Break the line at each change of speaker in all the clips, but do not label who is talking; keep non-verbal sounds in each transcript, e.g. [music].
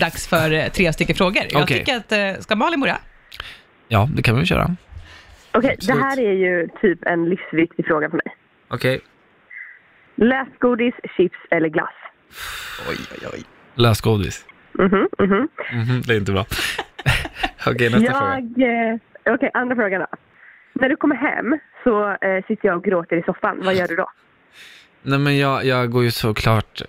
dags för eh, tre stycken frågor. Jag
Okej.
tycker att, eh, ska Malin börja?
Ja, det kan vi väl köra.
Okej,
Absolut.
det här är ju typ en livsviktig fråga för mig.
Okej.
Läskgodis, chips eller glass?
Oj, oj, oj.
Lösgodis.
Mhm, mhm.
Mhm, det är inte [laughs] bra.
Okej, nästa
Jag...
fråga.
Eh, Okej, andra frågan då. När du kommer hem så eh, sitter jag och gråter i soffan. Vad gör du då?
Nej, men jag, jag går ju såklart eh,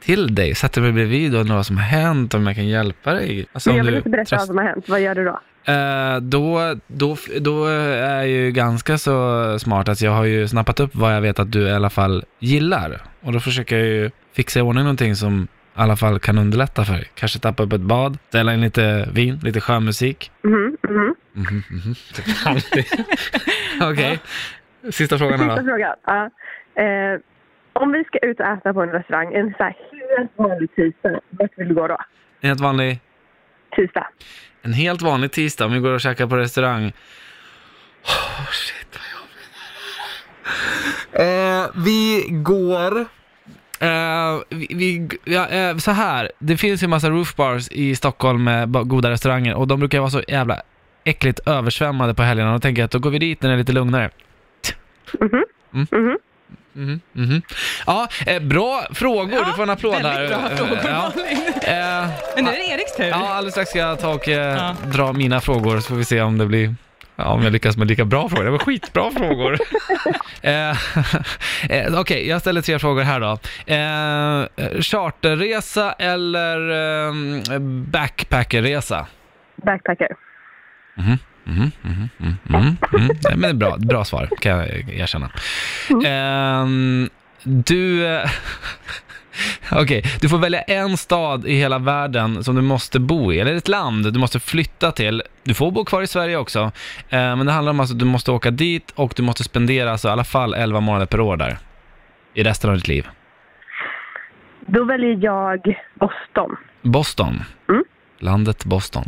till dig, sätter mig bredvid och undrar vad som har hänt, om jag kan hjälpa dig. Alltså,
Men
om
jag vill
du
inte berätta
tröst-
vad som har hänt. Vad gör du då?
Eh, då, då, då är jag ju ganska så smart att jag har ju snappat upp vad jag vet att du i alla fall gillar. Och då försöker jag ju fixa i ordning någonting som i alla fall kan underlätta för dig. Kanske tappa upp ett bad, ställa in lite vin, lite skön musik.
Mhm, mhm.
Mhm, mhm. [laughs] Okej, sista frågan här
Sista
då.
frågan. Ja. Eh, om vi ska ut och äta på en restaurang en så här helt vanlig tisdag, vart vill du gå då?
En helt vanlig,
Tisdag.
en helt vanlig tisdag om vi går och käkar på restaurang. Oh, Eh, vi går... Eh, vi, vi, ja, eh, så här, det finns ju en massa roofbars i Stockholm med ba- goda restauranger och de brukar vara så jävla äckligt översvämmade på helgerna. Då tänker jag att då går vi dit när det är lite lugnare.
Mm-hmm.
Mm.
Mhm.
Mhm, mhm. Ja, eh, bra frågor. du får en applåd
väldigt
här.
bra frågor,
eh, Ja.
Malin.
Eh,
Men nu är det Eriks tur.
Ja, alldeles strax ska jag ta och eh,
Ja.
dra mina frågor så får vi se om det blir Ja, om jag lyckas med lika bra frågor. Det var skitbra frågor. eh, [laughs] eh, Okej, jag ställer tre frågor här då. Eh, charterresa eller eh, backpackerresa?
Backpacker.
Mhm, mhm, mhm, mhm, mhm. Nej, men det är bra, bra svar, kan jag erkänna. Ehm, du... [laughs] eh, Okej, du får välja en stad i hela världen som du måste bo i, eller ett land du måste flytta till. Du får bo kvar i Sverige också, eh, men det handlar om alltså att du måste åka dit och du måste spendera alltså, i alla fall 11 månader per år där, i resten av ditt liv.
Då väljer jag Boston.
Boston.
Mm.
Landet Boston.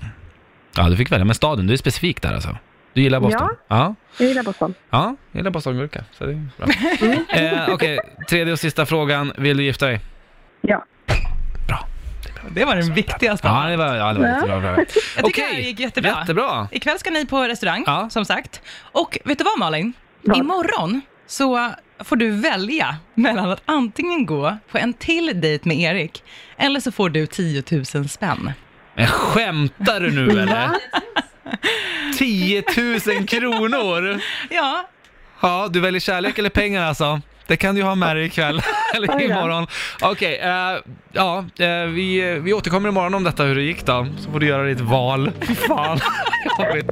Ja, du fick välja, men staden, du är specifik där alltså. Du gillar Boston? ja.
Jag gillar Boston.
Ja, jag gillar bostongurka, så det är
[laughs]
bra. eh, Okej, tredje och sista frågan. Vill du gifta dig?
Ja.
Det var den viktigaste.
Ja, det var, ja, det var jättebra. bra.
Jag tycker det här gick jättebra.
Jättebra.
Ikväll ska ni på restaurang,
Ja.
som sagt. Och vet du vad Malin?
Vad?
Imorgon så får du välja mellan att antingen gå på en till dejt med Erik, eller så får du 10 000 spänn.
Men skämtar du nu eller? 10 000 kronor?
Ja,
Ja, du väljer kärlek eller pengar alltså. Det kan du ju ha med dig ikväll [laughs] eller
Oj då.
imorgon. Okej, eh, ja, eh,
[laughs]
vi, vi återkommer imorgon om detta hur det gick då. Så får du göra ditt val. Fy fan, jobbigt.